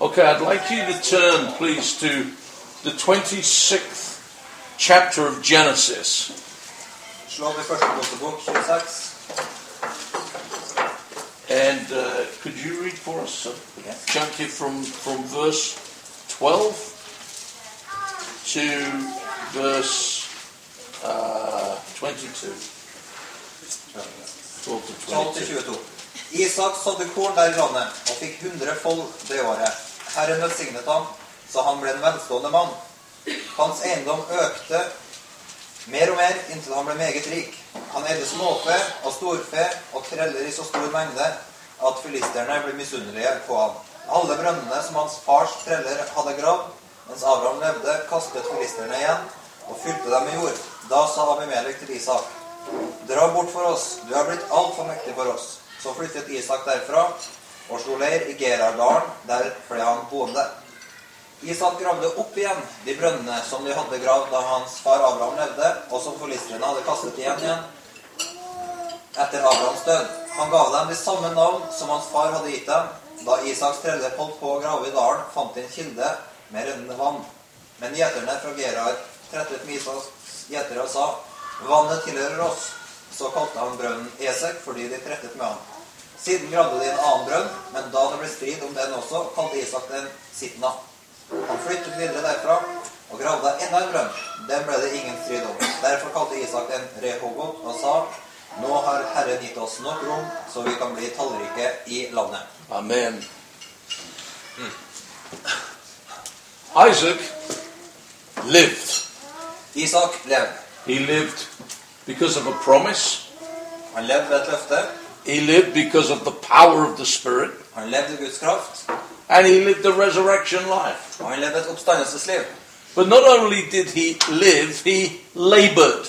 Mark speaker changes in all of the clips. Speaker 1: Okay, I'd like you to turn, please, to the 26th chapter of Genesis.
Speaker 2: Slå opp i første Mosebok 26.
Speaker 1: And uh, could you read for us a chunky from, from verse 12 to verse uh, 22? 12 to 22.
Speaker 2: 12-22. Isak sådde korn der i landet og fikk 100 fold det året. Herren velsignet ham, så han ble en velstående mann. Hans eiendom økte mer og mer inntil han ble meget rik. Han eide småfe og storfe og treller i så stor mengde at filisterne ble misunnelige på ham. Alle brønnene som hans fars treller hadde gravd mens Abraham levde, kastet filisterne igjen og fylte dem med jord. Da sa Abimelek til Isak Dra bort for oss, du er blitt altfor mektig for oss. Så flyttet Isak derfra og slo leir i Gerardalen. Der ble han boende. Isak gravde opp igjen de brønnene som de hadde gravd da hans far Abraham levde, og som forlistrene hadde kastet igjen igjen etter Abrahams død. Han gav dem de samme navn som hans far hadde gitt dem. Da Isaks treller holdt på å grave i dalen, fant de en kilde med rennende vann. Men gjeterne fra Gerar trettet med Isaks gjetere og sa Vannet tilhører oss. Så kalte han brønnen Esek fordi de trettet med han. Siden gravde de en annen brønn, men da det ble strid om den også, kalte Isak den Sitna. Han flyttet videre derfra og gravde enda en brønn. Den ble det ingen strid om. Derfor kalte Isak den Rehogot og sa nå har Herren gitt oss nok rom, så vi kan bli tallrike i landet.
Speaker 1: Amen. Isaac lived.
Speaker 2: Isak levde.
Speaker 1: He lived because of a promise.
Speaker 2: Han levde ved et løfte.
Speaker 1: He lived because of the power of the Spirit.
Speaker 2: Han levde i Guds kraft.
Speaker 1: And he lived a resurrection life.
Speaker 2: Og han levde et oppstandelsesliv.
Speaker 1: But not only did he live, he labored.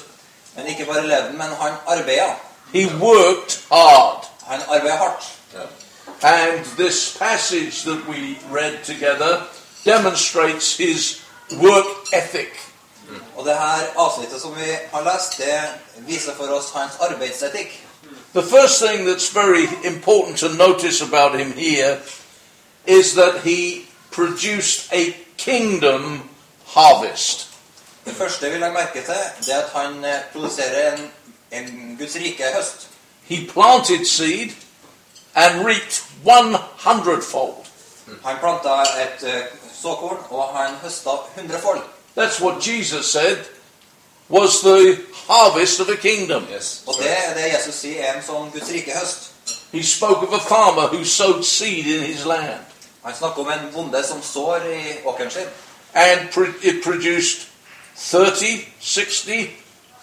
Speaker 2: Men ikke bare levde han, men han arbeida.
Speaker 1: He worked hard.
Speaker 2: Han arbeida hardt.
Speaker 1: And this passage that we read together demonstrates his work ethic.
Speaker 2: Og det her avsnittet som vi har lest, det viser for oss hans arbeidsetikk.
Speaker 1: The first thing that's very important to notice about him here is that he produced a kingdom harvest.
Speaker 2: Det første vi legger merke til, det er at han eh, produserer en, en Guds rike høst.
Speaker 1: He planted seed and reaped 100 fold.
Speaker 2: Han planta et eh, såkorn, og han høsta hundrefold.
Speaker 1: That's what Jesus said was the harvest of a kingdom.
Speaker 3: Yes.
Speaker 2: Og det er det Jesus sier er en sånn Guds rike høst.
Speaker 1: He spoke of a farmer who sowed seed in his land
Speaker 2: Han snakker om en bonde som sår i åkeren sin.
Speaker 1: and pro- it produced 30, 60,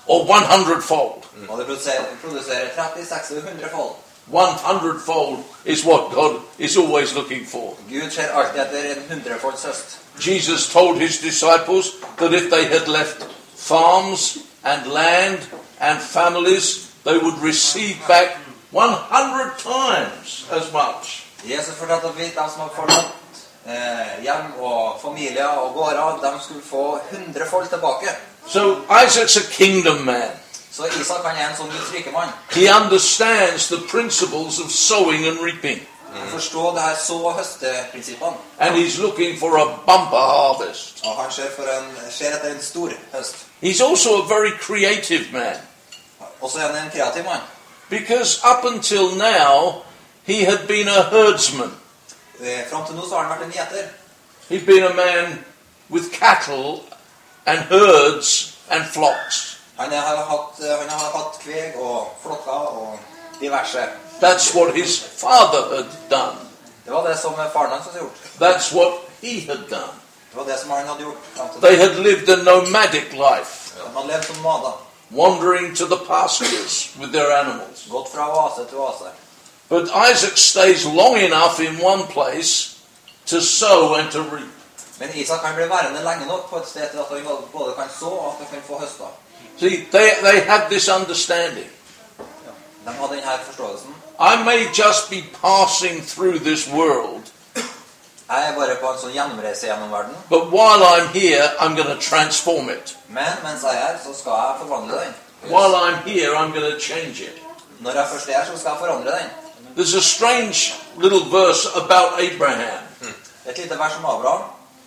Speaker 1: or 100 fold.
Speaker 2: Og det produserer, produserer 30, 60, 100 fold.
Speaker 1: 100 fold is what God is always looking for.
Speaker 2: Gud ser alltid etter en hundrefolds høst.
Speaker 1: Jesus told his disciples that if they had left farms and land and families, they would receive back 100 times as much.
Speaker 2: Jesus fortalte at vi, de som har forlatt eh, hjem og familier og gårder, de skulle få 100 folk tilbake.
Speaker 1: So Isaac's a kingdom man.
Speaker 2: Så Isak han er en sånn Guds rike mann.
Speaker 1: He understands the principles of sowing and reaping,
Speaker 2: Han forstår det her så- og høsteprinsippene.
Speaker 1: and he's looking for a bumper harvest.
Speaker 2: Og han ser, for en, ser etter en stor høst.
Speaker 1: He's also a very creative man
Speaker 2: Og så er han en kreativ mann.
Speaker 1: because up until now he had been a herdsman.
Speaker 2: Eh, Fram til nå så har han vært en gjeter.
Speaker 1: He'd been a man with cattle and herds and flocks.
Speaker 2: Han er- har hatt, eh, han har hatt kveg og flokker og diverse.
Speaker 1: That's what his father had done.
Speaker 2: Det var det som faren hans hadde gjort.
Speaker 1: That's what he had done.
Speaker 2: Det var det som han hadde gjort. frem til nå.
Speaker 1: They had lived a nomadic life,
Speaker 2: De hadde levd som nomader.
Speaker 1: wandering to the pastures with their animals.
Speaker 2: Gått fra oase til oase.
Speaker 1: But Isaac stays long enough in one place to sow and to reap.
Speaker 2: Men Isak kan bli værende lenge nok på et sted til at han både kan så og at han kan få høsta.
Speaker 1: See, they, they had this understanding.
Speaker 2: De hadde denne forståelsen.
Speaker 1: I may just be passing through this world,
Speaker 2: Jeg er bare på en sånn gjennomreise gjennom verden,
Speaker 1: but while I'm here, I'm going to transform it.
Speaker 2: men mens jeg er her, så skal jeg forvandle den.
Speaker 1: While I'm here, I'm going to change it.
Speaker 2: Når jeg først er her, så skal jeg forandre den.
Speaker 1: There's a strange little verse about Abraham.
Speaker 2: Et lite vers om Abraham,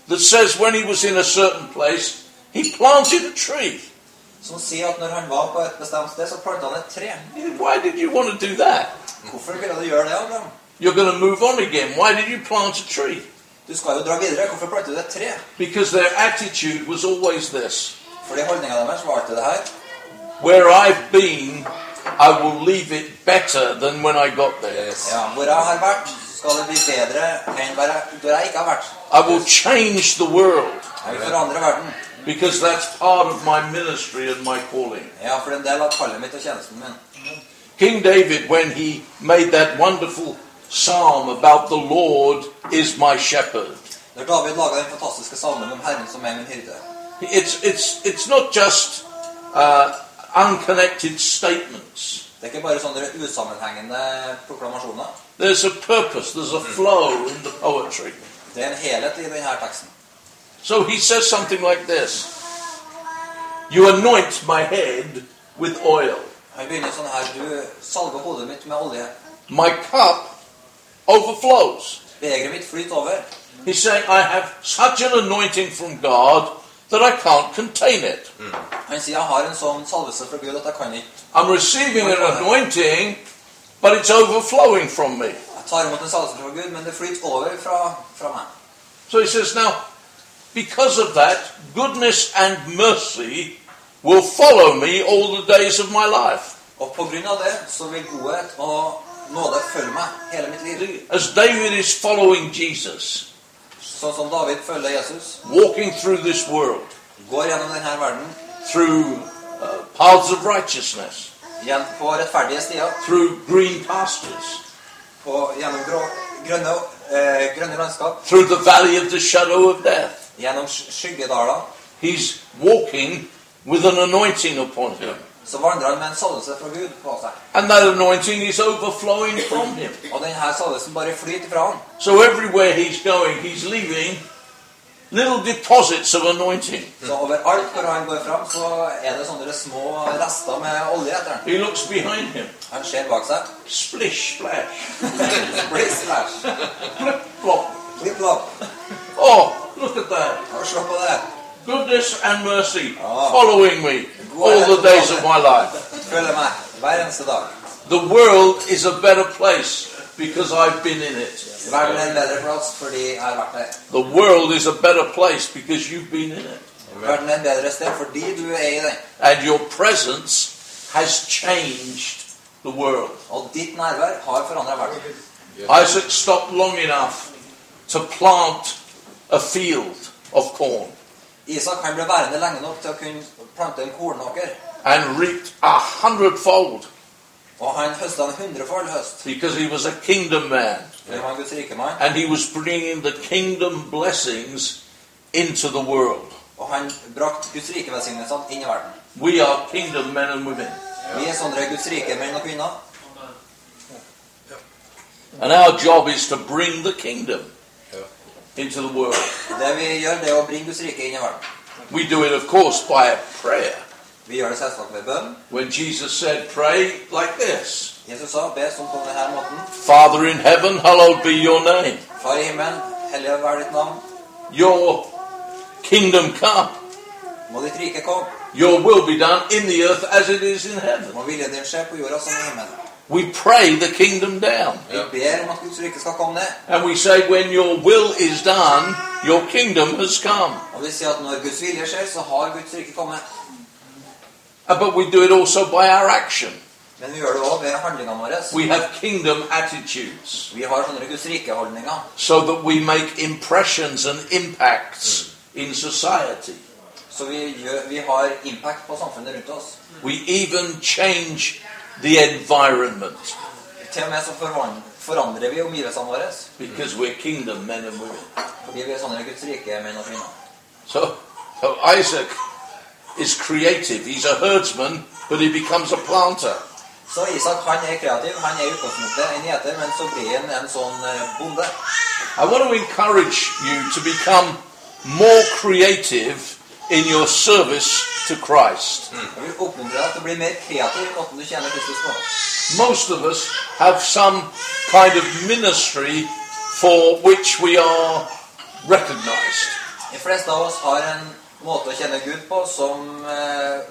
Speaker 1: that says when he was in a certain place, he planted a tree.
Speaker 2: som sier at når han var på et bestemt sted, så planta han et tre.
Speaker 1: Why did you want to do that?
Speaker 2: Hvorfor ville du gjøre det, Abraham?
Speaker 1: You're going to move on again. Why did you plant a tree?
Speaker 2: Du skal jo dra videre. Hvorfor planta du et tre?
Speaker 1: Because their attitude was always this
Speaker 2: Fordi holdninga deres var alltid det her.
Speaker 1: Where I've been, I will leave it better than when I got there.
Speaker 2: Ja, hvor jeg har vært, skal det bli bedre enn hvor jeg, hvor jeg ikke har vært.
Speaker 1: I will change the world
Speaker 2: Jeg vil forandre verden.
Speaker 1: because that's part of my ministry and my calling.
Speaker 2: Ja, for det er en del av kallet mitt og tjenesten min.
Speaker 1: King David, when he made that wonderful psalm about the Lord is my shepherd,
Speaker 2: Når David laga den fantastiske salmen om Herren som er min hyrde
Speaker 1: it's, it's, it's not just uh, unconnected statements.
Speaker 2: Det er ikke bare sånne usammenhengende proklamasjoner.
Speaker 1: There's a purpose, there's a flow in the poetry.
Speaker 2: Det er en helhet i denne teksten.
Speaker 1: So he says something like this You anoint my head with oil,
Speaker 2: Han begynner sånn her Du salver hodet mitt med olje.
Speaker 1: my cup overflows.
Speaker 2: Begeret mitt flyter over.
Speaker 1: He's saying, I have such an anointing from God that I can't contain it.
Speaker 2: Han sier jeg har en sånn salvelse fra Gud at jeg kan ikke
Speaker 1: I'm receiving an anointing, but it's overflowing from me.
Speaker 2: Jeg tar imot en salvelse fra Gud, men det flyter over fra, fra meg.
Speaker 1: So he says, Now, because of that, goodness and mercy will follow me all the days of my life.
Speaker 2: Og på grunn av det så vil godhet og nåde følge meg hele mitt liv.
Speaker 1: As David is following Jesus,
Speaker 2: Sånn som David følger Jesus,
Speaker 1: walking through this world,
Speaker 2: går gjennom denne verden,
Speaker 1: through uh, paths of righteousness,
Speaker 2: igjen på rettferdige stier,
Speaker 1: through green pastures,
Speaker 2: på, gjennom grå, grønne, eh, grønne landskap,
Speaker 1: through the valley of the shadow of death.
Speaker 2: gjennom sk- skyggedaler,
Speaker 1: He's walking with an anointing upon him.
Speaker 2: så vandrer han med en salvelse fra Gud på seg.
Speaker 1: And that anointing is overflowing from him.
Speaker 2: Og denne salvelsen bare flyter fra ham.
Speaker 1: So everywhere he's going, he's leaving little deposits of anointing.
Speaker 2: Så overalt hvor han går fram, så er det sånne små rester med olje etter han.
Speaker 1: He looks behind him.
Speaker 2: Han ser bak seg.
Speaker 1: Splish, splash,
Speaker 2: Bliss, splash,
Speaker 1: flip, flop.
Speaker 2: blipp, blopp.
Speaker 1: Oh, look at that.
Speaker 2: Og Se på det.
Speaker 1: Goodness and mercy
Speaker 2: Ah.
Speaker 1: following me all the days of my life.
Speaker 2: Følger meg hver eneste dag.
Speaker 1: The world is a better place because I've been in it.
Speaker 2: Verden er en bedre plass fordi jeg har vært der.
Speaker 1: The world is a better place because you've been in it.
Speaker 2: Verden er en bedre sted fordi du er i den.
Speaker 1: and your presence has changed the world.
Speaker 2: Og ditt nærvær har forandra verden.
Speaker 1: Isaac stopped long enough to plant a field of corn
Speaker 2: Isak han ble værende lenge nok til å kunne plante en kornåker.
Speaker 1: and reaped a hundredfold
Speaker 2: Og han høsta en hundrefold høst.
Speaker 1: because he was a kingdom man
Speaker 2: Det var en Guds rike mann.
Speaker 1: and he was bringing the kingdom blessings into the world.
Speaker 2: Og han brakte Guds rike velsignelsene inn i verden.
Speaker 1: We are kingdom men and women,
Speaker 2: Vi er sånne Guds rike menn og kvinner.
Speaker 1: and our job is to bring the kingdom into the world.
Speaker 2: Det vi gjør, det er å bringe Guds rike inn i verden.
Speaker 1: We do it, of course, by a prayer.
Speaker 2: Vi gjør det selvsagt ved bønn.
Speaker 1: When Jesus said, Pray like this.
Speaker 2: Jesus sa, be som på denne måten.
Speaker 1: Father in heaven, hallowed be your name.
Speaker 2: Far i himmelen, hellig være ditt navn.
Speaker 1: Your kingdom come.
Speaker 2: Må ditt rike komme.
Speaker 1: Your will be done in the earth as it is in heaven.
Speaker 2: Må viljen din skje på jorda som i himmelen.
Speaker 1: We pray the kingdom down.
Speaker 2: Vi ber om at Guds rike skal komme ned.
Speaker 1: And we say, when your will is done, your kingdom has come.
Speaker 2: Og vi sier at når Guds vilje skjer, så har Guds rike kommet.
Speaker 1: Uh, But we do it also by our action.
Speaker 2: Men vi gjør det òg ved handlingene våre.
Speaker 1: We have kingdom attitudes
Speaker 2: Vi har sånne Guds rike-holdninger.
Speaker 1: so that we make impressions and impacts in society.
Speaker 2: Så vi, gjør, vi har impact på samfunnet rundt oss.
Speaker 1: We even change the environment
Speaker 2: Til og med så forvan- forandrer vi omgivelsene våre
Speaker 1: because we're kingdom men and women.
Speaker 2: fordi vi er sånne Guds rike menn og kvinner.
Speaker 1: So, so Isaac is creative. He's a herdsman, but he becomes a planter.
Speaker 2: Så Isak han er kreativ. Han er i utgangspunktet en gjeter, men så blir han en sånn eh, bonde.
Speaker 1: I want to encourage you to become more creative in your service to Christ.
Speaker 2: Jeg vil oppmuntre deg til å bli mer kreativ i måten du tjener Kristus på.
Speaker 1: Most of us have some kind of ministry for which we are recognized.
Speaker 2: De fleste av oss har en måte å kjenne Gud på som eh,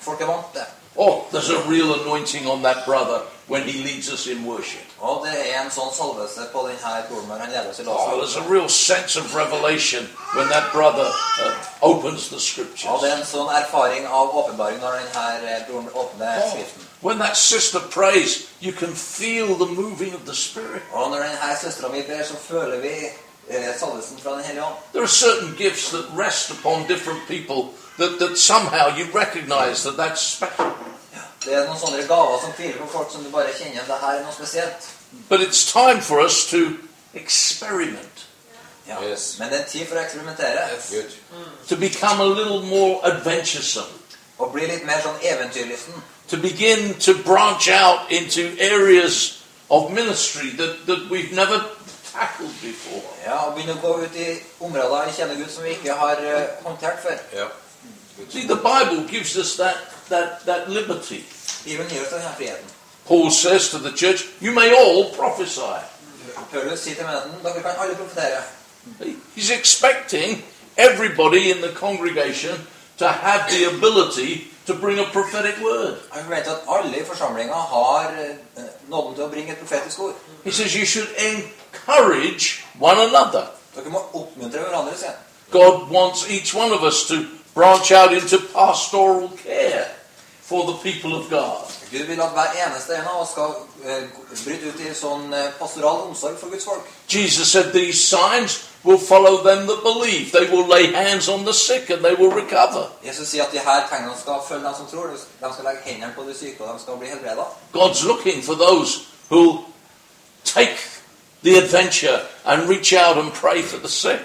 Speaker 2: folk er vant til.
Speaker 1: Oh, there's a real anointing on that brother when he leads us in worship.
Speaker 2: Og det er en sånn salvelse på denne broren når han leder oss i
Speaker 1: Oh,
Speaker 2: lovsang.
Speaker 1: there's a real sense of revelation when that brother uh, opens the
Speaker 2: Og det er
Speaker 1: scriptures.
Speaker 2: en sånn erfaring av åpenbaring når denne broren åpner Skriften.
Speaker 1: When that sister prays, you can feel the moving of the Spirit.
Speaker 2: Og når denne søstera mi ber, så føler vi eh, salvelsen fra Den hellige ånd.
Speaker 1: There are certain gifts that rest upon different people that, that somehow you recognize that that's special.
Speaker 2: Det er noen sånne gaver som hviler på folk som du bare kjenner det her er noe spesielt.
Speaker 1: But it's time for us to experiment,
Speaker 2: Ja.
Speaker 3: Yes.
Speaker 2: Men det er tid for å eksperimentere
Speaker 3: Good.
Speaker 1: to become a little more adventuresome,
Speaker 2: og bli litt mer sånn eventyrlysten.
Speaker 1: to begin to branch out into areas of ministry that, that we've never tackled before.
Speaker 2: Ja, og begynne å gå ut i områder i Kjenne Gud som vi ikke har eh, håndtert før.
Speaker 3: Yeah.
Speaker 1: See, the Bible gives us that, that, that liberty.
Speaker 2: Bibelen gir oss denne friheten.
Speaker 1: Paul says to the church, You may all prophesy.
Speaker 2: Paulus sier til menigheten dere kan alle profetere.
Speaker 1: He's expecting everybody in the congregation to have the ability to bring a prophetic word.
Speaker 2: Han forventer at alle i forsamlinga har eh, nåden til å bringe et profetisk ord.
Speaker 1: He says you should encourage one another.
Speaker 2: Dere må oppmuntre hverandre. sier han.
Speaker 1: God wants each one of us to branch out into pastoral care for the people of God.
Speaker 2: Gud vil at hver eneste en av oss skal eh, bryte ut i sånn eh, pastoral omsorg for Guds folk.
Speaker 1: Jesus said these signs will follow them that believe. They will lay hands on the sick and they will recover.
Speaker 2: Jesus sier at de her tegnene skal følge dem som tror. De skal legge hendene på de syke, og de skal bli helbreda.
Speaker 1: God's looking for those who'll take the adventure and reach out and pray for the sick.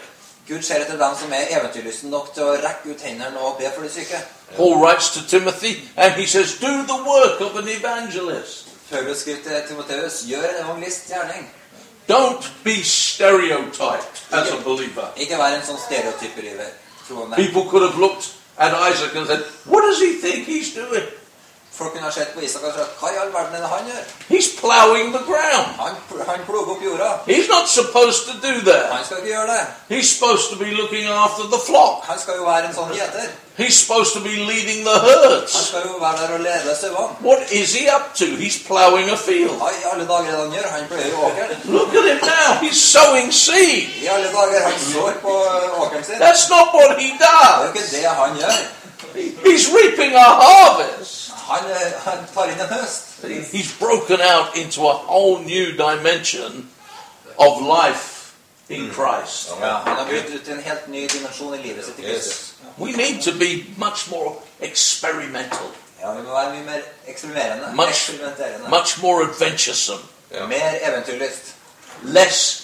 Speaker 2: Gud ser etter dem som er eventyrlysten nok til å rekke ut hendene og be for de syke.
Speaker 1: Paul writes to Timothy and he says, Do the work of an evangelist.
Speaker 2: Paulus skriver til Timoteus gjør en evangelists gjerning.
Speaker 1: Don't be stereotyped as a believer.
Speaker 2: Ikke vær en sånn stereotypeliver. troende.
Speaker 1: People could have looked at Isaac and said, What does he think he's doing?
Speaker 2: Folk kunne ha sett på Isak og sagt hva i all verden er det han gjør?
Speaker 1: He's plowing the ground.
Speaker 2: Han, han ploger opp jorda.
Speaker 1: He's not supposed to do that.
Speaker 2: Han skal ikke gjøre det.
Speaker 1: He's supposed to be looking after the flock.
Speaker 2: Han skal jo være en sånn gjeter.
Speaker 1: He's supposed to be leading the
Speaker 2: Han
Speaker 1: herds.
Speaker 2: skal jo være der og lede sauene.
Speaker 1: What is he up to? He's plowing a field.
Speaker 2: Hva i alle dager er det han gjør? Han pløyer jo åkeren.
Speaker 1: Look at him now. He's sowing seed.
Speaker 2: I alle dager han sår på ø, åkeren sin. Det
Speaker 1: That's not what he
Speaker 2: er jo
Speaker 1: does.
Speaker 2: ikke det han gjør.
Speaker 1: He's reaping a harvest.
Speaker 2: Han, ø, han tar inn en høst.
Speaker 1: He's broken out into a whole new dimension of life in Christ.
Speaker 2: Ja, han har brutt ut i en helt ny dimensjon i livet sitt i Kristus.
Speaker 3: Yes.
Speaker 1: We need to be much more experimental,
Speaker 2: Ja, vi må være mye mer eksperimenterende.
Speaker 1: Much-
Speaker 2: eksperimenterende.
Speaker 1: much more adventuresome,
Speaker 3: Yeah.
Speaker 2: Mer eventyrlyst.
Speaker 1: less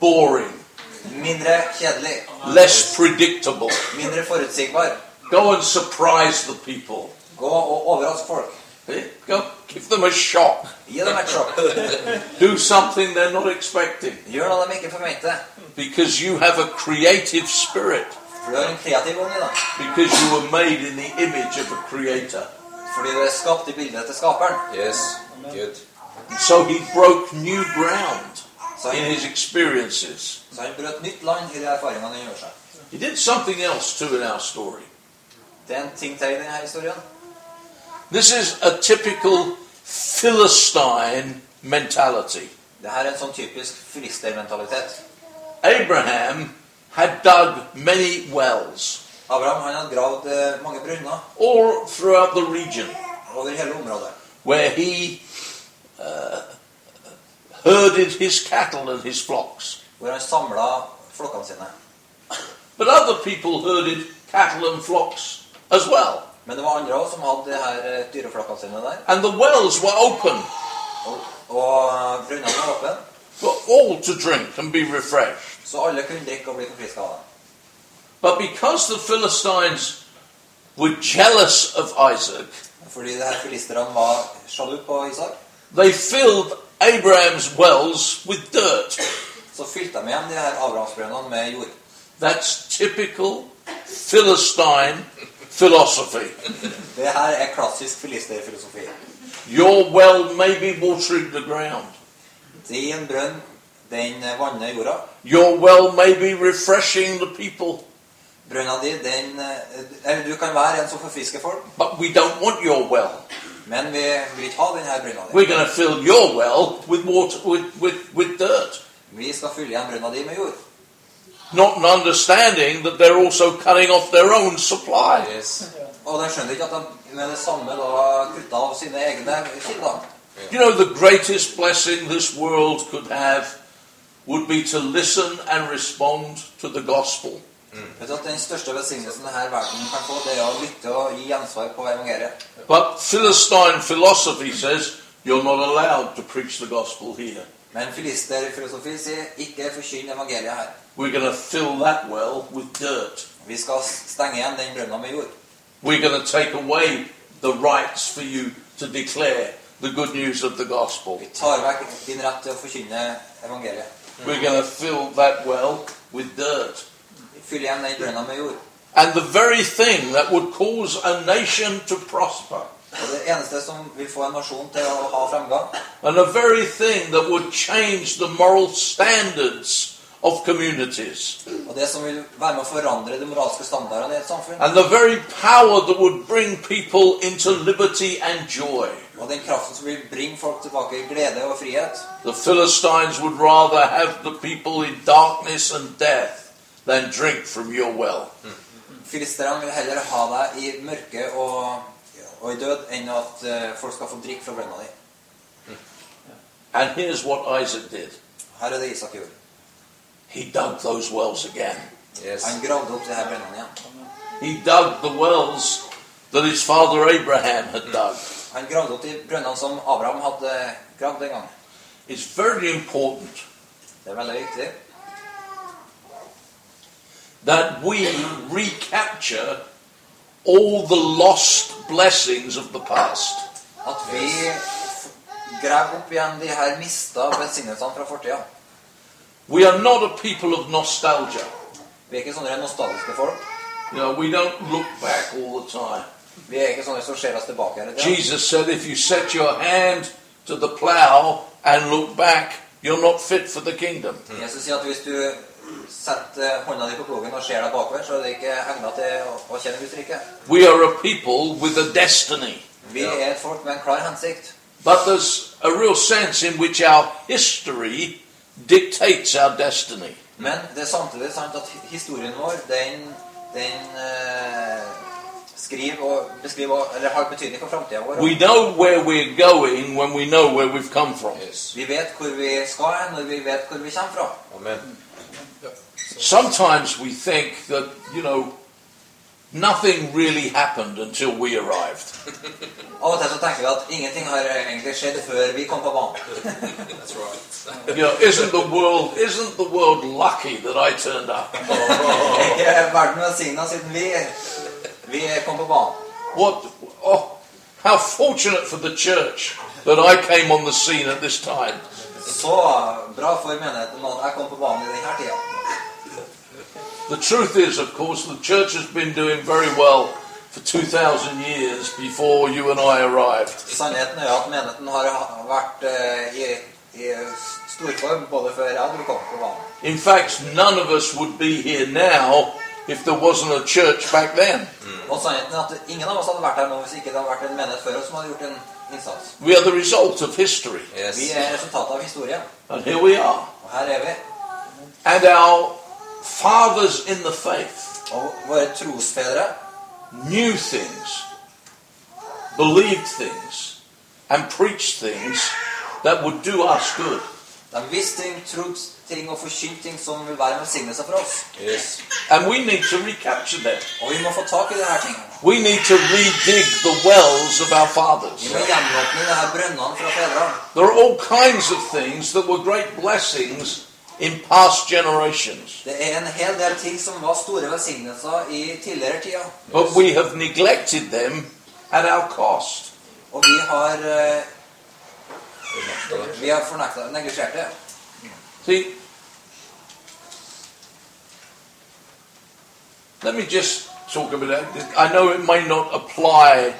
Speaker 1: boring,
Speaker 2: Mindre kjedelig.
Speaker 1: less predictable.
Speaker 2: Mindre forutsigbar.
Speaker 1: Go and surprise the people.
Speaker 2: Gå og overrask folk.
Speaker 1: Eh? Go give them a shock.
Speaker 2: Gi dem et sjokk.
Speaker 1: Do something they're not expecting
Speaker 2: Gjør noe de ikke forventer.
Speaker 1: because you have a creative spirit,
Speaker 2: For du har en kreativ ånd i deg.
Speaker 1: because you were made in the image of a creator.
Speaker 2: Fordi du er skapt i bildet til skaperen.
Speaker 3: Yes. Good.
Speaker 1: And so he broke new ground.
Speaker 2: Så
Speaker 1: in
Speaker 2: han,
Speaker 1: his experiences.
Speaker 2: så han brøt nytt land i de erfaringene han gjorde seg.
Speaker 1: He did something else too in our story.
Speaker 2: Det er en ting til i denne historien.
Speaker 1: This is a typical Philistine mentality.
Speaker 2: Det her er en sånn typisk filistermentalitet.
Speaker 1: Abraham had dug many wells
Speaker 2: Abraham han hadde gravd eh, mange brunner
Speaker 1: all throughout the region
Speaker 2: over hele området.
Speaker 1: where he uh, herded his cattle and his flocks.
Speaker 2: Hvor han samla flokkene sine.
Speaker 1: But other people herded cattle and flocks as well.
Speaker 2: Men det var andre også som hadde de her eh, dyreflokkene sine der.
Speaker 1: And the wells were open
Speaker 2: Og, og eh, brunnene var åpne,
Speaker 1: for all to drink and be refreshed.
Speaker 2: så alle kunne drikke og bli forfriska av dem.
Speaker 1: But because the Philistines were jealous of Isaac,
Speaker 2: Fordi de her filisterne var sjalu på Isak,
Speaker 1: they filled Abraham's wells with dirt.
Speaker 2: så fylte de igjen de her Abrahamsbrønnene med jord.
Speaker 1: That's typical Philistine philosophy.
Speaker 2: Det her er klassisk filisterfilosofi.
Speaker 1: Your well may be watering the ground,
Speaker 2: Din brønn Den vanner jorda.
Speaker 1: Your well may be refreshing the people,
Speaker 2: Brønna di, den eh, Eller du kan være en som forfrisker folk,
Speaker 1: but we don't want your well.
Speaker 2: men vi vil ikke ha den her brønna di.
Speaker 1: We're going to fill your well with water, with, with, with dirt,
Speaker 2: Vi skal fylle igjen brønna di med jord.
Speaker 1: not understanding that they're also cutting off their own supply.
Speaker 2: Og de skjønner ikke at de med det samme da kutta av sine egne kilder.
Speaker 1: You know, the greatest blessing this world could have would be to listen and respond to the gospel.
Speaker 2: Vet du at Den største velsignelsen denne verden kan få, det er å lytte og gi ansvar på evangeliet.
Speaker 1: But Philistine philosophy says you're not allowed to preach the gospel here.
Speaker 2: Men filisterfilosofi sier 'ikke forkynn evangeliet her'.
Speaker 1: We're going to fill that well with dirt.
Speaker 2: Vi skal stenge igjen den brønna med jord.
Speaker 1: We're going to take away the rights for you to declare the good news of the gospel.
Speaker 2: Vi tar vekk din rett til å forkynne evangeliet.
Speaker 1: We're going to fill that well with dirt.
Speaker 2: Fyll igjen den brønna med jord.
Speaker 1: And the very thing that would cause a nation to prosper,
Speaker 2: Og Det eneste som vil få en nasjon til å ha fremgang,
Speaker 1: and the very thing that would change the moral standards of communities,
Speaker 2: og det som vil være med å forandre de moralske standardene i et samfunn,
Speaker 1: and the very power that would bring people into liberty and joy.
Speaker 2: og den kraften som vil bringe folk tilbake i glede og frihet
Speaker 1: The Philistines would rather have the people in darkness and death than drink from your well.
Speaker 2: Filisterne vil heller ha deg i mørke og, og i død enn at eh, folk skal få drikke fra brønna di.
Speaker 1: And here's what Isaac did
Speaker 2: Her er det Isak gjorde.
Speaker 1: he dug those wells again.
Speaker 2: Han gravde opp det her brønnene igjen.
Speaker 1: He dug the wells that his father Abraham had dug.
Speaker 2: Han gravde opp de brønnene som Abraham hadde gravd den gangen.
Speaker 1: It's very important
Speaker 2: Det er veldig viktig
Speaker 1: that we recapture all the lost blessings of the past.
Speaker 2: at vi graver opp igjen de her mista velsignelsene fra fortida.
Speaker 1: We are not a people of nostalgia.
Speaker 2: Vi er ikke sånne nostalgiske folk.
Speaker 1: You know, we don't look back all the time.
Speaker 2: Vi er ikke sånne som ser oss tilbake hele tida.
Speaker 1: Jesus said, If you set your hand to the plow and look back, you're not fit for the kingdom.
Speaker 2: Jesus sier at hvis du setter eh, hånda di på plogen og ser deg bakover, så er det ikke egna til å, å kjenne Guds rike.
Speaker 1: We are a people with a destiny.
Speaker 2: Vi er et folk med en klar hensikt.
Speaker 1: But there's a real sense in which our history dictates our destiny.
Speaker 2: Men det er samtidig sant at historien vår, den, den eh, skriver og beskriver og- Eller har betydning for framtida vår.
Speaker 1: We know where we're going when we know where we've come from.
Speaker 2: Vi vet hvor vi skal hen, og vi vet hvor vi kommer fra.
Speaker 1: Sometimes we think that, you know, nothing really happened until we arrived.
Speaker 2: Av og til så tenker vi at ingenting har egentlig skjedd før vi kom på banen.
Speaker 1: You know, isn't the world isn't the world lucky that I turned up?
Speaker 2: Er Verden velsigna siden vi, vi kom på banen.
Speaker 1: What? Oh, how fortunate for the church that I came on the scene at this time.
Speaker 2: Så bra for menigheten at jeg kom på banen i denne tida.
Speaker 1: The truth is, of course, the church has been doing very well for 2,000 years before you and I arrived.
Speaker 2: Sannheten er jo at menigheten har ha- vært eh, i, i storform både før jeg og du kom på banen.
Speaker 1: In fact, none of us would be here now if there wasn't a church back then.
Speaker 2: Og sannheten er at ingen av oss hadde vært her nå hvis ikke det hadde vært en menighet før oss som hadde gjort en innsats.
Speaker 1: We are the result of history,
Speaker 2: Vi er resultatet av historien,
Speaker 1: and here we are.
Speaker 2: og her er vi.
Speaker 1: And our fathers in the faith
Speaker 2: Og våre trosfedre
Speaker 1: knew things, believed things, and preached things that would do us good.
Speaker 2: de visste ting, trodde ting og forkynte ting som vil være en velsignelse for oss.
Speaker 1: And we need to recapture that.
Speaker 2: Og vi må få tak i disse tingene.
Speaker 1: We need to redig the wells of our
Speaker 2: Vi
Speaker 1: fathers.
Speaker 2: må gjenåpne de her brønnene fra fedrene.
Speaker 1: There are all kinds of things that were great blessings in past generations,
Speaker 2: Det er en hel del ting som var store velsignelser i tidligere tider.
Speaker 1: but we have neglected them at our cost.
Speaker 2: Og vi har eh, Vi har fornekta neglisjert det.
Speaker 1: See, let me just talk about that. I know it may not apply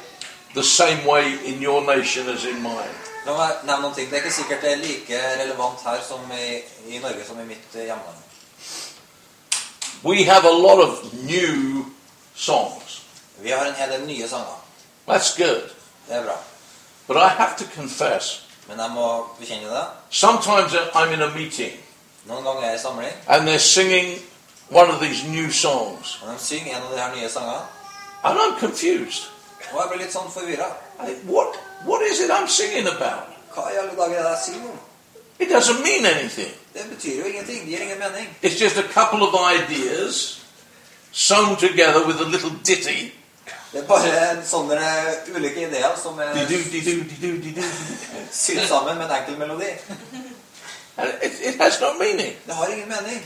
Speaker 1: the same way in your nation as in mine,
Speaker 2: La meg nevne noen ting. Det er ikke sikkert det er like relevant her som i, i Norge som i mitt eh, hjemland.
Speaker 1: We have a lot of new songs.
Speaker 2: Vi har en hel del nye sanger.
Speaker 1: That's good.
Speaker 2: Det er bra.
Speaker 1: But I have to confess,
Speaker 2: Men jeg må bekjenne det.
Speaker 1: sometimes I'm in a meeting
Speaker 2: Noen ganger er jeg i samling,
Speaker 1: and they're singing one of these new songs,
Speaker 2: og de synger en av de her nye sangene.
Speaker 1: and I'm confused.
Speaker 2: Og jeg blir litt sånn forvirra.
Speaker 1: I, what, what is it I'm singing about?
Speaker 2: Hva i alle dager er det jeg synger om?
Speaker 1: It doesn't mean anything.
Speaker 2: Det betyr jo ingenting. Det gir ingen mening.
Speaker 1: It's just a couple of ideas sewn together with a little ditty.
Speaker 2: Det er bare sånne eh, ulike ideer som er
Speaker 1: Dee-doo, dee-doo, dee-doo, dee-doo.
Speaker 2: sydd sammen med en enkel melodi.
Speaker 1: And it, it has no meaning.
Speaker 2: Det har ingen mening.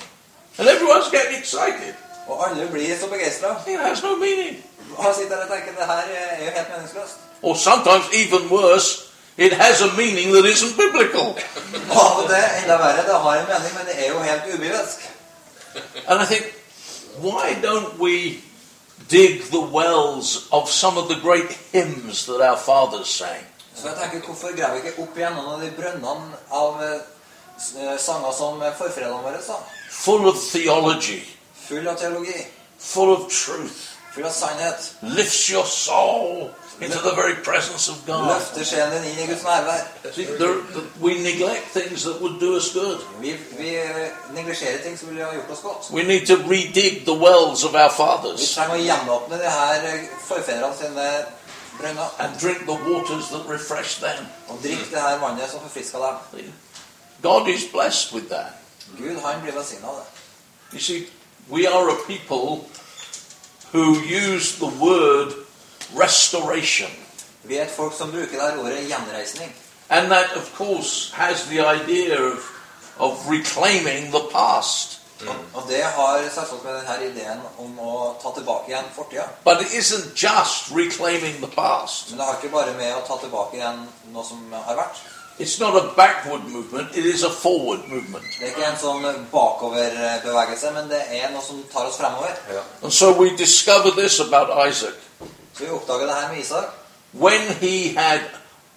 Speaker 1: And everyone's getting excited.
Speaker 2: Og alle blir så begeistra.
Speaker 1: It has no meaning.
Speaker 2: Og jeg sitter her og tenker det her eh, er jo helt meningsløst.
Speaker 1: Or sometimes, even worse, it has a meaning that isn't biblical.
Speaker 2: Og det er enda verre. Det har en mening, men det er jo helt ubibelsk.
Speaker 1: And I think, why don't we dig the wells of some of the great hymns that our fathers sang?
Speaker 2: Så jeg tenker, hvorfor graver vi ikke opp igjen noen av de brønnene av eh, s- eh, sanger som forfedrene våre sa?
Speaker 1: Full of theology,
Speaker 2: Full av teologi,
Speaker 1: full of truth,
Speaker 2: full av sannhet.
Speaker 1: lifts your soul into the very presence of God.
Speaker 2: Løfter sjelen din inn i Guds nærvær.
Speaker 1: See, there, we neglect things that would do us good.
Speaker 2: Vi, vi eh, neglisjerer ting som ville ha gjort oss godt.
Speaker 1: We need to redig the wells of our
Speaker 2: Vi
Speaker 1: fathers
Speaker 2: trenger å gjenåpne de her eh, forfedrene sine brønner
Speaker 1: and drink the waters that refresh them.
Speaker 2: og drikke det her vannet som forfrisker dem.
Speaker 1: God is blessed with that.
Speaker 2: Gud, han blir velsignet av det.
Speaker 1: You see, we are a people who use the word restoration.
Speaker 2: Vi er et folk som bruker det her ordet gjenreisning.
Speaker 1: And that, of course, has the idea of, of reclaiming the past.
Speaker 2: Og, og det har selvsagt med denne ideen om å ta tilbake igjen fortida.
Speaker 1: But it isn't just reclaiming the past.
Speaker 2: Men det har ikke bare med å ta tilbake igjen noe som har vært.
Speaker 1: It's not a backward movement, it is a forward movement.
Speaker 2: Det er ikke en sånn bakoverbevegelse, men det er noe som tar oss fremover.
Speaker 1: And so we discover this about Isaac.
Speaker 2: Så vi oppdager det her med Isak.
Speaker 1: When he had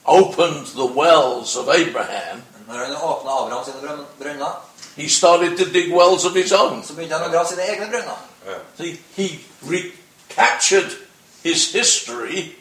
Speaker 1: opened the wells of Abraham,
Speaker 2: Når han åpna Abraham sine brøn- brønner,
Speaker 1: he started to dig wells of his own.
Speaker 2: så begynte han å grave sine egne brønner.
Speaker 1: See, he recaptured his history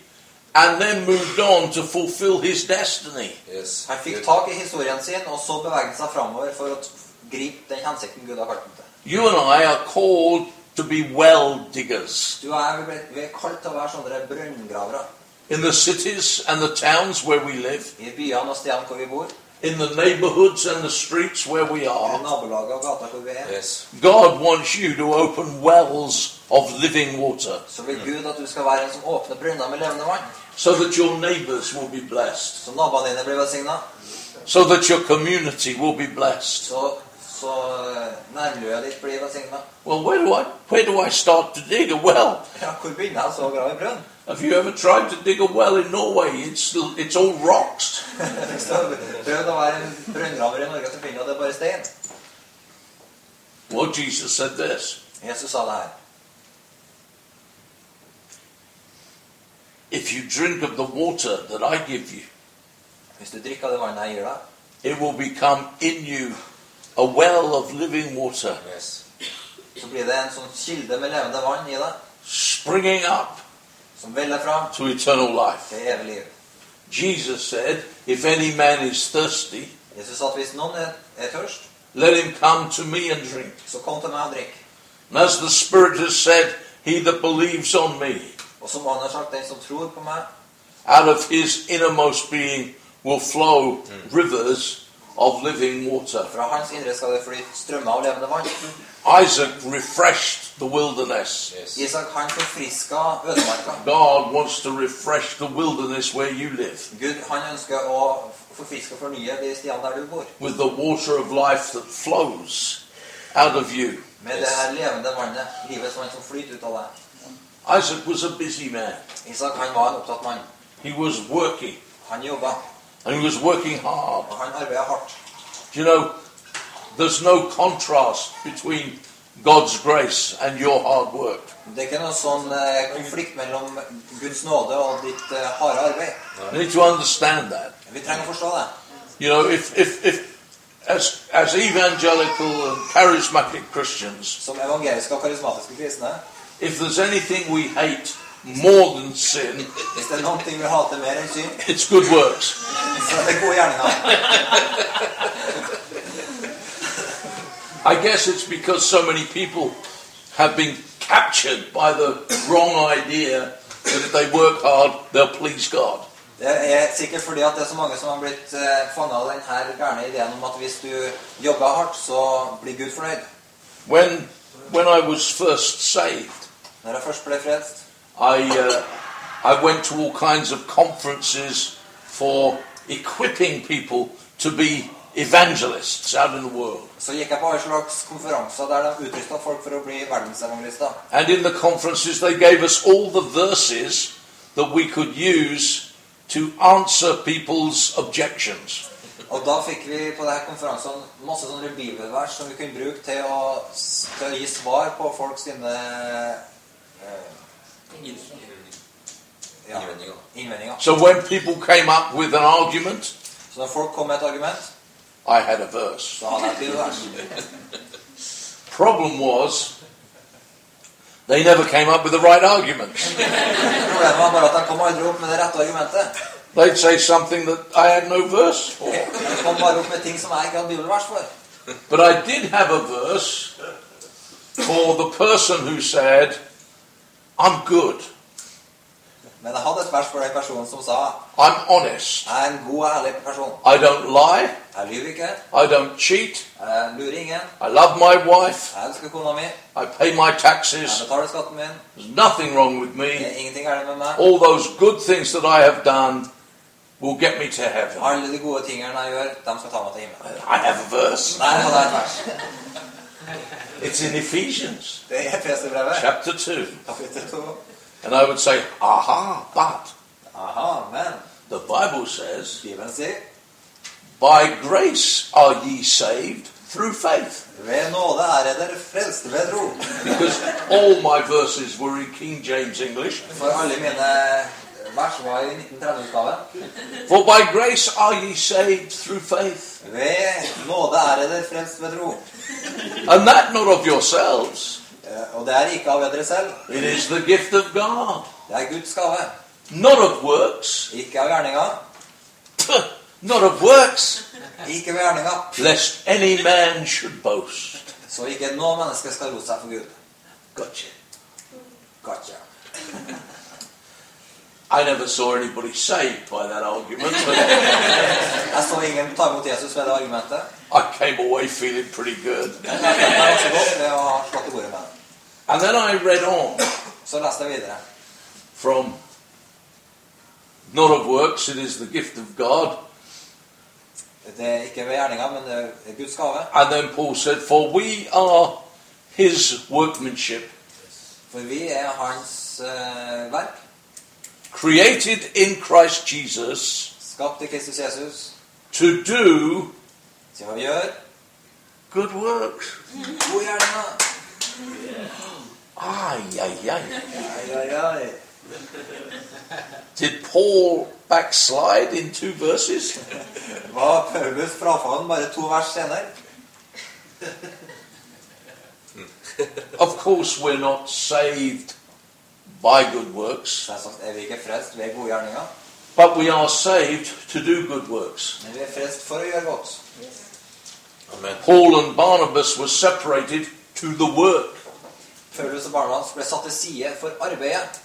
Speaker 1: and then moved on to fulfill his destiny.
Speaker 3: Yes.
Speaker 2: Han fikk
Speaker 3: Good.
Speaker 2: tak i historien sin, og så beveget han seg fremover for å t- gripe den hensikten Gud har kalt ham til.
Speaker 1: You and I are called to be well diggers
Speaker 2: Du og jeg vi ble- vi er kalt til å være sånne brønngravere.
Speaker 1: in the cities and the towns where we live,
Speaker 2: I byene og stedene hvor vi bor,
Speaker 1: in the neighborhoods and the streets where we
Speaker 2: i
Speaker 1: are.
Speaker 2: nabolaget og gata hvor vi er,
Speaker 3: Yes.
Speaker 1: God wants you to open wells of living water
Speaker 2: så vil Gud at du skal være en som åpner brønner med levende vann.
Speaker 1: so that your neighbors will be blessed,
Speaker 2: Så naboene dine blir velsigna.
Speaker 1: so that your community will be blessed.
Speaker 2: Så, så eh, nærmiljøet ditt blir velsigna.
Speaker 1: Well, where do I where do I start to dig a well?
Speaker 2: Ja, hvor begynner jeg så å grave brønn?
Speaker 1: Have you ever tried to dig a well in Norway? It's it's all rocks.
Speaker 2: Hvis du har prøvd å være en brønngraver i Norge, så finner du at det er bare stein.
Speaker 1: Well, Jesus said this:
Speaker 2: Jesus sa det her.
Speaker 1: If you drink of the water that I give you,
Speaker 2: Hvis du drikker av det vannet jeg gir deg,
Speaker 1: it will become in you a well of living water,
Speaker 3: Yes.
Speaker 2: så blir det en sånn kilde med levende vann i deg,
Speaker 1: springing up
Speaker 2: som veller fram
Speaker 1: to eternal life.
Speaker 2: til evig liv.
Speaker 1: Jesus said, "If any man is thirsty,
Speaker 2: Jesus sa at hvis noen er, er tørst,
Speaker 1: let him come to me and drink."
Speaker 2: så kom til meg og drikk.
Speaker 1: And as the Spirit has said, "He that believes on me,
Speaker 2: Og som han har sagt, den som tror på meg,
Speaker 1: out of his innermost being will flow rivers of living water."
Speaker 2: fra hans indre skal det flyte strømmer av levende vann.
Speaker 1: Isaac refreshed the wilderness.
Speaker 3: Yes.
Speaker 2: Isak, han forfriska ødemarka.
Speaker 1: God wants to refresh the wilderness where you live
Speaker 2: Gud, han ønsker å forfriske og fornye de stiene der du bor.
Speaker 1: with the water of life that flows out of you.
Speaker 2: Med det her levende vannet, livets vann som flyter ut av deg.
Speaker 1: Isaac was a busy man.
Speaker 2: Isak, han var en opptatt mann.
Speaker 1: He was working,
Speaker 2: Han jobba,
Speaker 1: and he was working hard.
Speaker 2: og han arbeida hardt.
Speaker 1: Do you know, there's no contrast between God's grace and your hard work.
Speaker 2: Det er ikke noen sånn eh, konflikt mellom Guds nåde og ditt eh, harde arbeid.
Speaker 1: You need to understand that.
Speaker 2: Vi trenger å forstå det.
Speaker 1: You know, if, if, if as, as evangelical and charismatic Christians,
Speaker 2: Som evangeliske og karismatiske kristne.
Speaker 1: if there's anything we hate more than sin,
Speaker 2: Hvis det er noen ting vi hater mer enn synd,
Speaker 1: it's good works.
Speaker 2: så er det gode gjerninger.
Speaker 1: I guess it's because so many people have been captured by the wrong idea that if they work hard, they'll please God.
Speaker 2: Det er sikkert fordi at det er så mange som har blitt eh, fanget av denne gærne ideen om at hvis du jobber hardt, så blir Gud fornøyd.
Speaker 1: When, when I was first saved,
Speaker 2: Når jeg først ble frelst,
Speaker 1: I, uh, I went to all kinds of conferences for equipping people to be evangelists out in the world.
Speaker 2: så gikk jeg på alle slags konferanser der de utrusta folk for å bli verdensevangelister.
Speaker 1: And in the conferences, they gave us all the verses that we could use to answer people's objections.
Speaker 2: Og da fikk vi på denne konferansen masse sånne bibelvers som vi kunne bruke til å, til å gi svar på folk sine eh, ja,
Speaker 3: Innvendinger.
Speaker 2: innvendinger.
Speaker 1: So when people came up with an argument,
Speaker 2: Så når folk kom med et argument,
Speaker 1: I had a verse.
Speaker 2: så hadde jeg et bibelvers.
Speaker 1: Problem was, they never came up with the right argument.
Speaker 2: Problemet var bare at de kom aldri opp med det rette argumentet.
Speaker 1: They'd say something that I had no verse for.
Speaker 2: De kom bare opp med ting som jeg ikke hadde bibelvers for.
Speaker 1: But I did have a verse for the person who said, I'm good,
Speaker 2: Men jeg hadde et vers for den personen som sa
Speaker 1: I'm honest,
Speaker 2: jeg er en god og ærlig person.
Speaker 1: I don't lie,
Speaker 2: Jeg lyver ikke,
Speaker 1: I don't cheat,
Speaker 2: jeg lurer ingen,
Speaker 1: I love my wife,
Speaker 2: jeg elsker kona mi,
Speaker 1: I pay my
Speaker 2: jeg
Speaker 1: taxes,
Speaker 2: betaler skatten min,
Speaker 1: there's nothing wrong with
Speaker 2: det
Speaker 1: me.
Speaker 2: er ingenting galt med meg.
Speaker 1: All those good things that I have done will get me to heaven.
Speaker 2: Alle de gode tingene jeg gjør, de skal ta meg til himmelen.
Speaker 1: I have a verse.
Speaker 2: Der hadde jeg et vers.
Speaker 1: It's in Ephesians
Speaker 2: Det er PC-brevet.
Speaker 1: chapter 2.
Speaker 2: Kapittel 2.
Speaker 1: And I would say, aha, but
Speaker 2: Aha, men
Speaker 1: the Bible says,
Speaker 2: Bibelen sier
Speaker 1: by grace are ye saved through faith.
Speaker 2: Ved nåde er jeg dere frelste ved tro.
Speaker 1: because all my verses were in King James English.
Speaker 2: For alle mine vers var i 1930-utgaven.
Speaker 1: For by grace are ye saved through faith,
Speaker 2: Ved nåde er jeg dere frelst ved tro.
Speaker 1: and that not of yourselves.
Speaker 2: Eh, Og det er ikke av dere selv.
Speaker 1: It is the gift of God,
Speaker 2: Det er Guds gave.
Speaker 1: not of works,
Speaker 2: Ikke av gjerninga.
Speaker 1: not of works,
Speaker 2: Ikke ved gjerninga.
Speaker 1: lest any man should boast.
Speaker 2: Så ikke noe menneske skal rose seg for Gud.
Speaker 1: Gotcha.
Speaker 2: Gotcha.
Speaker 1: I never saw anybody saved by that argument, but
Speaker 2: Jeg så ingen ta imot Jesus ved det argumentet.
Speaker 1: I came away feeling pretty good.
Speaker 2: Men jeg følte meg også godt ved å ha slått i bordet med det.
Speaker 1: And then I read on
Speaker 2: Så leste jeg videre.
Speaker 1: from not of works, it is the gift of God.
Speaker 2: Det er ikke ved gjerninga, men det er Guds gave.
Speaker 1: And then Paul said, For we are his workmanship,
Speaker 2: For vi er hans eh, verk,
Speaker 1: created in Christ Jesus
Speaker 2: skapt i Kristus Jesus,
Speaker 1: to do
Speaker 2: til å gjøre
Speaker 1: good works.
Speaker 2: gode gjerninger.
Speaker 1: Ay, ay, ay.
Speaker 2: Ai, ai, ai.
Speaker 1: Did Paul backslide in two verses?
Speaker 2: Var Paulus frafallen bare to vers senere?
Speaker 1: Of course, we're not saved by good works,
Speaker 2: Så jeg sa, er vi ikke frelst ved gode gjerninger,
Speaker 1: but we are saved to do good works.
Speaker 2: men vi er frelst for å gjøre godt.
Speaker 3: Amen.
Speaker 1: Paul and Barnabas were separated to the work.
Speaker 2: Paulus og barna hans ble satt til side for arbeidet.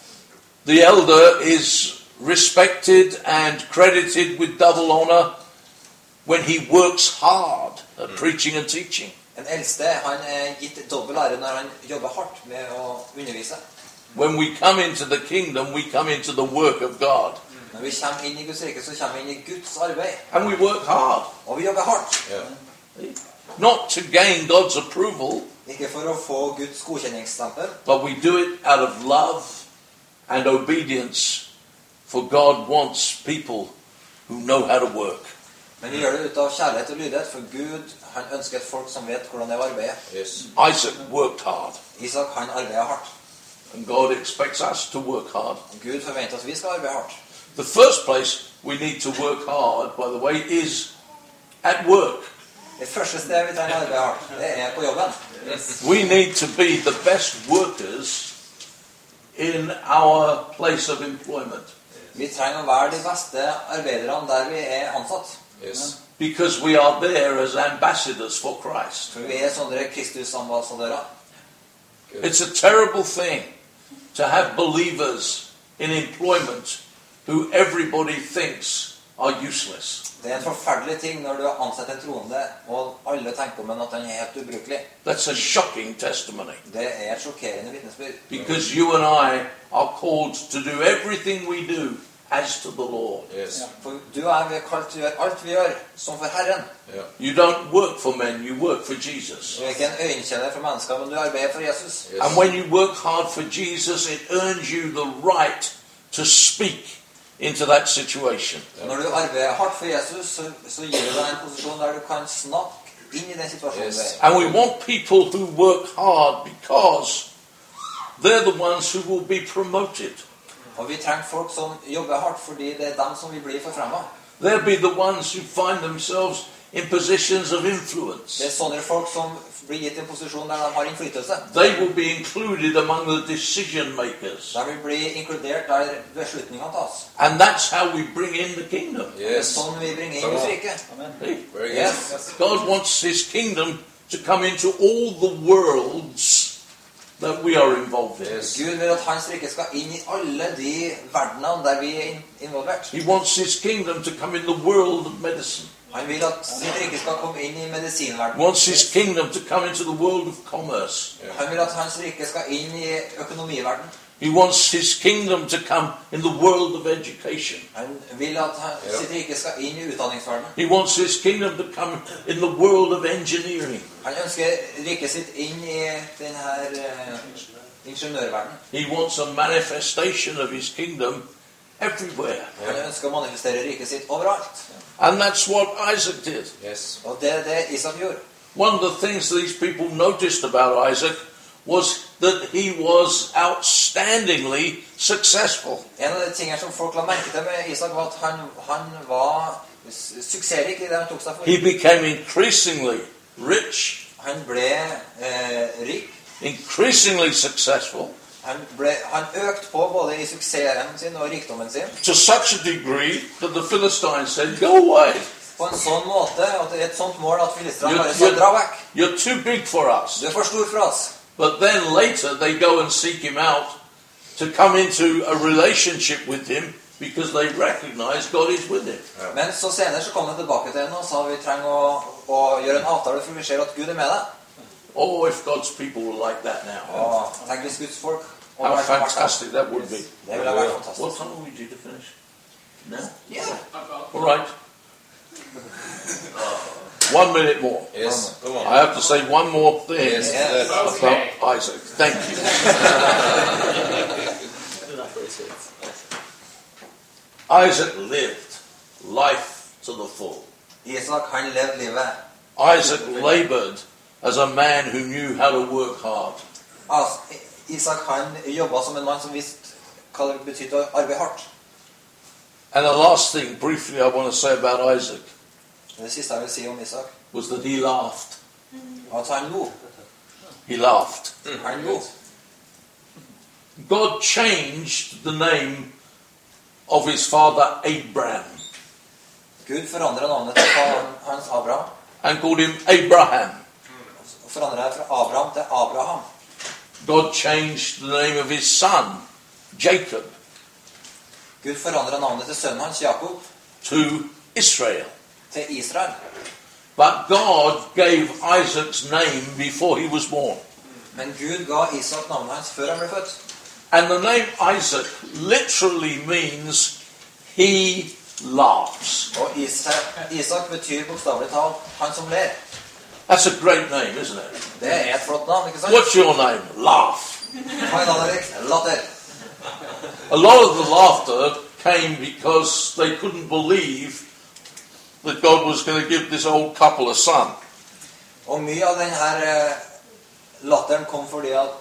Speaker 1: The elder is respected and credited with double honor when he works hard at preaching and teaching.
Speaker 2: Den eldste han er gitt dobbel ære når han jobber hardt med å undervise.
Speaker 1: When we come into the kingdom, we come into the work of God.
Speaker 2: Når vi kommer inn i Guds rike, så kommer vi inn i Guds arbeid.
Speaker 1: And we work hard,
Speaker 2: Og vi jobber hardt.
Speaker 3: Ja.
Speaker 1: not to gain God's approval,
Speaker 2: Ikke for å få Guds godkjenningsstempel,
Speaker 1: but we do it out of love and obedience, for God wants people who know how to work.
Speaker 2: Men vi gjør det ut av kjærlighet og lydighet, for Gud han ønsker et folk som vet hvordan det er å arbeide.
Speaker 3: Yes.
Speaker 1: Isaac worked hard,
Speaker 2: Isak han arbeider hardt.
Speaker 1: and God expects us to work hard.
Speaker 2: Gud forventer at vi skal arbeide hardt.
Speaker 1: The first place we need to work hard, by the way, is at work.
Speaker 2: Det første stedet vi trenger å arbeide hardt, det er på jobben.
Speaker 1: We need to be the best workers in our place of employment
Speaker 2: Vi trenger å være de beste arbeiderne der vi er ansatt.
Speaker 3: Yes.
Speaker 1: because we are there as ambassadors for Christ.
Speaker 2: For vi er sånne Kristusambassadører.
Speaker 1: It's a terrible thing to have believers in employment who everybody thinks are useless.
Speaker 2: Det er en forferdelig ting når du ansetter en troende, og alle tenker om en at han er helt ubrukelig.
Speaker 1: That's a shocking testimony
Speaker 2: Det er et sjokkerende vitnesbyrd.
Speaker 1: because you and I are called to do everything we do as to the Lord.
Speaker 3: Yes.
Speaker 2: For du og jeg vi er kalt til å gjøre alt vi gjør, som for Herren.
Speaker 3: Yeah.
Speaker 1: You don't work for men, you work for Jesus.
Speaker 2: Du er ikke en øyenkjenner for mennesker, men du arbeider for Jesus.
Speaker 1: And
Speaker 3: Yes.
Speaker 1: when you work hard for Jesus, it earns you the right to speak into that situation.
Speaker 2: Og når du arbeider hardt for Jesus, så, så gir du deg en posisjon der du kan snakke inn i den situasjonen du er i.
Speaker 1: And we want people who work hard because they're the ones who will be promoted.
Speaker 2: Og vi trenger folk som jobber hardt, fordi det er dem som vil bli forfremma.
Speaker 1: They'll be the ones who find themselves in positions of
Speaker 2: Det
Speaker 1: influence.
Speaker 2: er sånne folk som blir gitt i en posisjon der de har innflytelse.
Speaker 1: They will be included among the decision makers.
Speaker 2: De vil bli inkludert der beslutningene tas.
Speaker 1: And that's how we bring in the kingdom.
Speaker 2: Det er
Speaker 3: Yes.
Speaker 2: sånn vi bringer inn
Speaker 3: Come on.
Speaker 2: Guds rike.
Speaker 1: See?
Speaker 3: Very good.
Speaker 2: Yes.
Speaker 1: God wants his kingdom to come into all the worlds that we are involved in.
Speaker 3: Yes.
Speaker 2: Gud vil at hans rike skal inn i alle de verdenene der vi er in- involvert.
Speaker 1: He wants his kingdom to come in the world of medicine.
Speaker 2: Han vil at sitt rike skal komme inn i
Speaker 1: He
Speaker 2: medisinverdenen.
Speaker 1: wants his kingdom to come into the world of commerce.
Speaker 2: Han vil at hans rike skal inn i økonomiverdenen.
Speaker 1: He wants his kingdom to come in the world of education.
Speaker 2: Han vil at han,
Speaker 3: Ja.
Speaker 2: sitt rike skal inn i utdanningsverdenen.
Speaker 1: He wants his kingdom to come in the world of engineering.
Speaker 2: Han ønsker riket sitt inn i den her eh, ingeniørverdenen.
Speaker 1: He wants a manifestation of his kingdom everywhere.
Speaker 2: Han ønsker å manifestere riket sitt overalt.
Speaker 1: And that's what Isaac did.
Speaker 3: Yes.
Speaker 2: Og det er det Isak gjorde.
Speaker 1: One of the things these people noticed about Isaac was that he was outstandingly successful.
Speaker 2: En av de tingene som folk la merke til med Isak, var at han, han var su- suksessrik i det han tok seg for.
Speaker 1: He became increasingly rich
Speaker 2: Han ble eh, rik.
Speaker 1: increasingly successful
Speaker 2: Han, ble, han økte på både i suksessen sin og rikdommen sin
Speaker 1: to such a degree that the Philistines said, Go away.
Speaker 2: på en sånn måte at det er et sånt mål at filistrene
Speaker 1: Ja,
Speaker 2: bare sa
Speaker 1: ja.
Speaker 2: dra vekk.
Speaker 1: You're too big for
Speaker 2: Du
Speaker 1: us.
Speaker 2: er for stor for oss.
Speaker 1: But then later they go and seek him out to come into a relationship with him because they recognize God is with him.
Speaker 2: Men så senere så kom han tilbake til henne og sa vi trenger å, å gjøre en avtale, for vi ser at Gud er med deg.
Speaker 1: Oh, if God's people were like that now,
Speaker 2: Og tenk hvis Guds folk og
Speaker 1: how
Speaker 2: vært- vært der.
Speaker 1: fantastic that would be.
Speaker 2: Det ville vært fantastisk.
Speaker 1: What time are we due to finish? No?
Speaker 2: Yeah.
Speaker 1: All right. One minute more.
Speaker 3: Yes. Come on.
Speaker 1: I have to say one more thing.
Speaker 3: Yes.
Speaker 2: Yes.
Speaker 3: Yes.
Speaker 1: about Isaac. Thank you. Isaac lived life to the full.
Speaker 2: Isak han levde livet.
Speaker 1: Isaac labored as a man who knew how to work hard.
Speaker 2: As- Isak han jobba som en mann som visste hva det betydde å arbeide hardt.
Speaker 1: And the last thing, briefly, I want to say about Isaac
Speaker 2: Det siste jeg vil si om Isak,
Speaker 1: was that he laughed.
Speaker 2: var at han lo.
Speaker 1: He laughed.
Speaker 2: Han lo.
Speaker 1: God changed the name of his father Abraham
Speaker 2: Gud forandra navnet til faren hans Abraham.
Speaker 1: and called him Abraham.
Speaker 2: Forandra det fra Abraham til Abraham.
Speaker 1: God changed the name of his son Jacob
Speaker 2: Gud forandra navnet til sønnen hans Jakob
Speaker 1: to Israel.
Speaker 2: til Israel.
Speaker 1: But God gave Isaac's name before he was born.
Speaker 2: Men Gud ga Isak navnet hans før han ble født.
Speaker 1: And the name Isaac literally means he laughs.
Speaker 2: Og Isak, Isak betyr bokstavelig talt 'han som ler'.
Speaker 1: That's a great name, isn't it?
Speaker 2: Det er et flott navn, ikke sant?
Speaker 1: What's your name? Laugh.
Speaker 2: Hva er navnet ditt? Latter.
Speaker 1: A lot of the laughter came because they couldn't believe that God was going to give this old couple a son.
Speaker 2: Og mye av denne latteren kom fordi at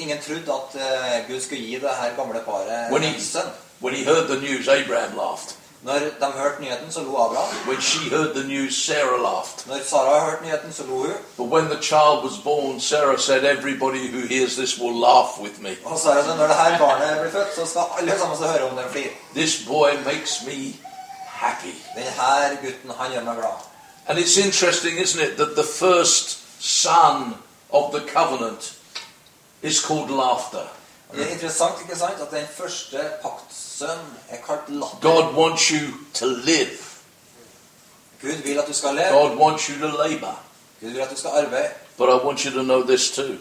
Speaker 2: ingen trodde at eh, Gud skulle gi det her gamle paret
Speaker 1: When
Speaker 2: en
Speaker 1: he-
Speaker 2: sønn.
Speaker 1: When he heard the news, Abraham laughed.
Speaker 2: Når de hørte nyheten, så lo Abraham.
Speaker 1: When she heard the news, Sarah laughed.
Speaker 2: Når Sara hørte nyheten, så lo hun.
Speaker 1: But when the child was born, Sarah said, Everybody who hears this will laugh with me.
Speaker 2: Og Sara sa når det her barnet blir født, så skal alle sammen som hører om det, flire.
Speaker 1: This boy makes me happy.
Speaker 2: Den her gutten, han gjør meg glad.
Speaker 1: And it's interesting, isn't it, that the first son of the covenant is called laughter.
Speaker 2: Og det er interessant ikke sant, at den første paktsønn er kalt latter.
Speaker 1: God wants you to live,
Speaker 2: Gud vil at du skal leve.
Speaker 1: God wants you to labor.
Speaker 2: Gud vil at du skal arbeide.
Speaker 1: But I want you to know this too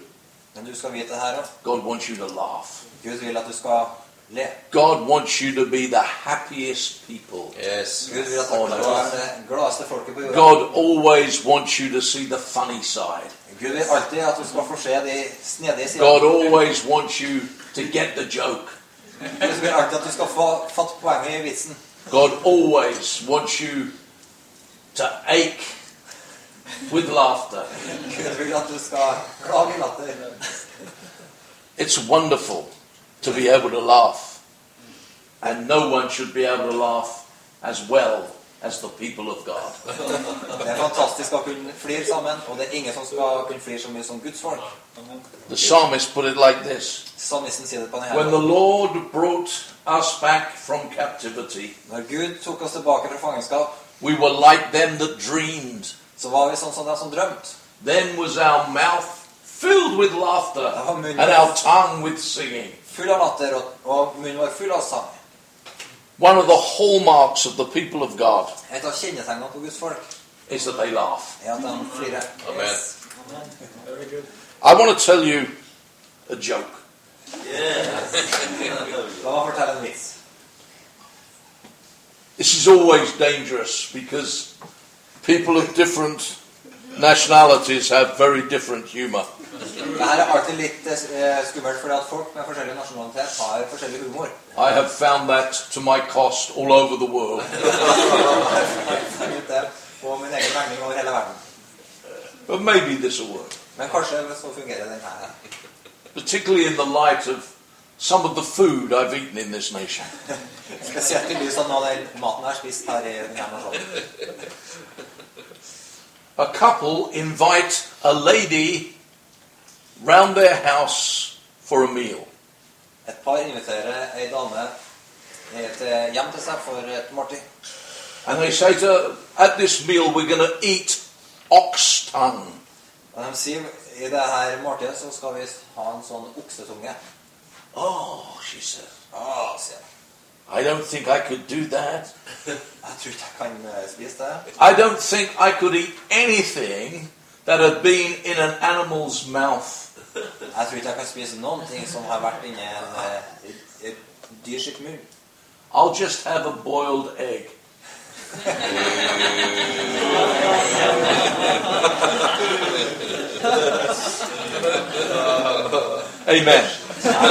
Speaker 2: Men du skal vite det her òg.
Speaker 1: God wants you to laugh.
Speaker 2: Gud vil at du skal le.
Speaker 1: God wants you to be the happiest people.
Speaker 3: Yes.
Speaker 2: Gud vil at dere skal være det gladeste folket på jorda.
Speaker 1: God always wants you to see the funny side.
Speaker 2: Gud vil alltid at du skal få se de snedige
Speaker 1: God
Speaker 2: sidene.
Speaker 1: always wants you to get the joke.
Speaker 2: Gud vil alltid at du skal få fatt poenget i vitsen.
Speaker 1: God always wants you to ache with laughter.
Speaker 2: Gud vil at du skal klage i latter.
Speaker 1: It's wonderful to be able to laugh. And no one should be able to laugh as well as the people of God.
Speaker 2: Det er fantastisk å kunne flire sammen, og det er ingen som skal kunne flire så mye som Guds folk.
Speaker 1: The psalmist put it like this
Speaker 2: Salmisten sier det på denne
Speaker 1: When the
Speaker 2: her.
Speaker 1: Lord brought us back from captivity,
Speaker 2: Når Gud tok oss tilbake fra fangenskap,
Speaker 1: we were like them that dreamed.
Speaker 2: så var vi sånn som de som drømte.
Speaker 1: Then was our mouth filled with laughter
Speaker 2: Amen.
Speaker 1: and our tongue with singing.
Speaker 2: Full av latter, og, og munnen var full av sang.
Speaker 1: One of the hallmarks of the people of God
Speaker 2: Et av kjennetegnene på Guds folk
Speaker 1: is that they laugh.
Speaker 2: er at de flirer.
Speaker 3: Amen.
Speaker 1: I want to tell you a joke.
Speaker 2: La meg fortelle en vits.
Speaker 1: This is always dangerous because people of different nationalities have very different humor.
Speaker 2: Det her er alltid litt eh, skummelt, fordi at folk med forskjellig nasjonalitet har forskjellig humor.
Speaker 1: I have found that to my cost all over the world.
Speaker 2: Jeg vet det På min egen regning over hele verden.
Speaker 1: But maybe this will work,
Speaker 2: Men kanskje så fungerer den her.
Speaker 1: particularly in the light of some of the food I've eaten in this nation.
Speaker 2: Spesielt i lys av noe av den maten jeg har spist her i denne nasjonen.
Speaker 1: A couple invite a lady round their house for a meal.
Speaker 2: Et par inviterer ei dame eh, til hjem til seg for et måltid.
Speaker 1: And they say to her, at this meal we're going to eat ox tongue.
Speaker 2: Og de sier i det her måltidet så skal vi ha en sånn oksetunge.
Speaker 1: Oh, she says.
Speaker 2: Ah, sier jeg.
Speaker 1: I don't think I could do that.
Speaker 2: Jeg tror ikke jeg kan eh, spise det.
Speaker 1: I don't think I could eat anything that had been in an animal's mouth.
Speaker 2: Jeg tror ikke jeg kan spise noen ting som har vært inni en eh, i- i dyr sitt munn.
Speaker 1: I'll just have a boiled egg. Amen.